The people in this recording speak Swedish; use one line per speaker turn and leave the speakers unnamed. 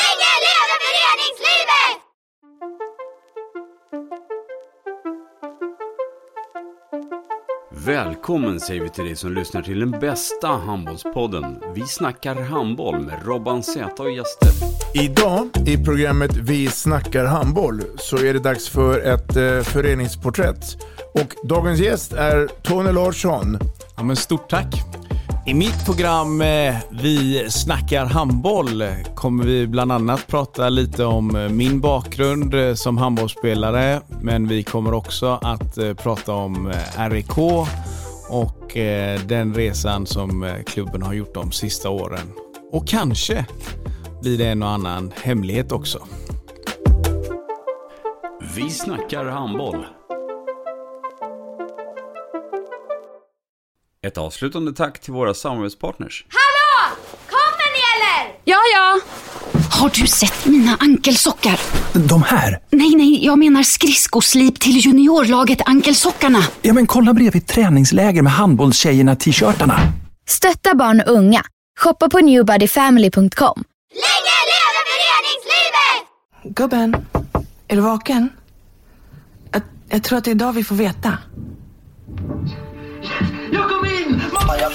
Länge leve föreningslivet!
Välkommen säger vi till dig som lyssnar till den bästa handbollspodden. Vi snackar handboll med Robban Z och gäster.
Idag i programmet Vi snackar handboll så är det dags för ett eh, föreningsporträtt. Och dagens gäst är Tony Larsson.
Ja, men stort tack. I mitt program eh, Vi snackar handboll kommer vi bland annat prata lite om eh, min bakgrund eh, som handbollsspelare men vi kommer också att eh, prata om eh, RIK och eh, den resan som eh, klubben har gjort de sista åren. Och kanske blir det en och annan hemlighet också.
Vi snackar handboll. Ett avslutande tack till våra samarbetspartners.
Hallå! Kommer ni eller?
Ja, ja.
Har du sett mina ankelsockar?
De här?
Nej, nej, jag menar skridskoslip till juniorlaget Ankelsockarna.
Ja, men kolla bredvid träningsläger med handbollstjejerna-t-shirtarna.
Stötta barn och unga. Shoppa på newbodyfamily.com.
Länge leve föreningslivet!
Gubben, är du vaken? Jag, jag tror att det är idag vi får veta.
Jag kom in! Mamma, jag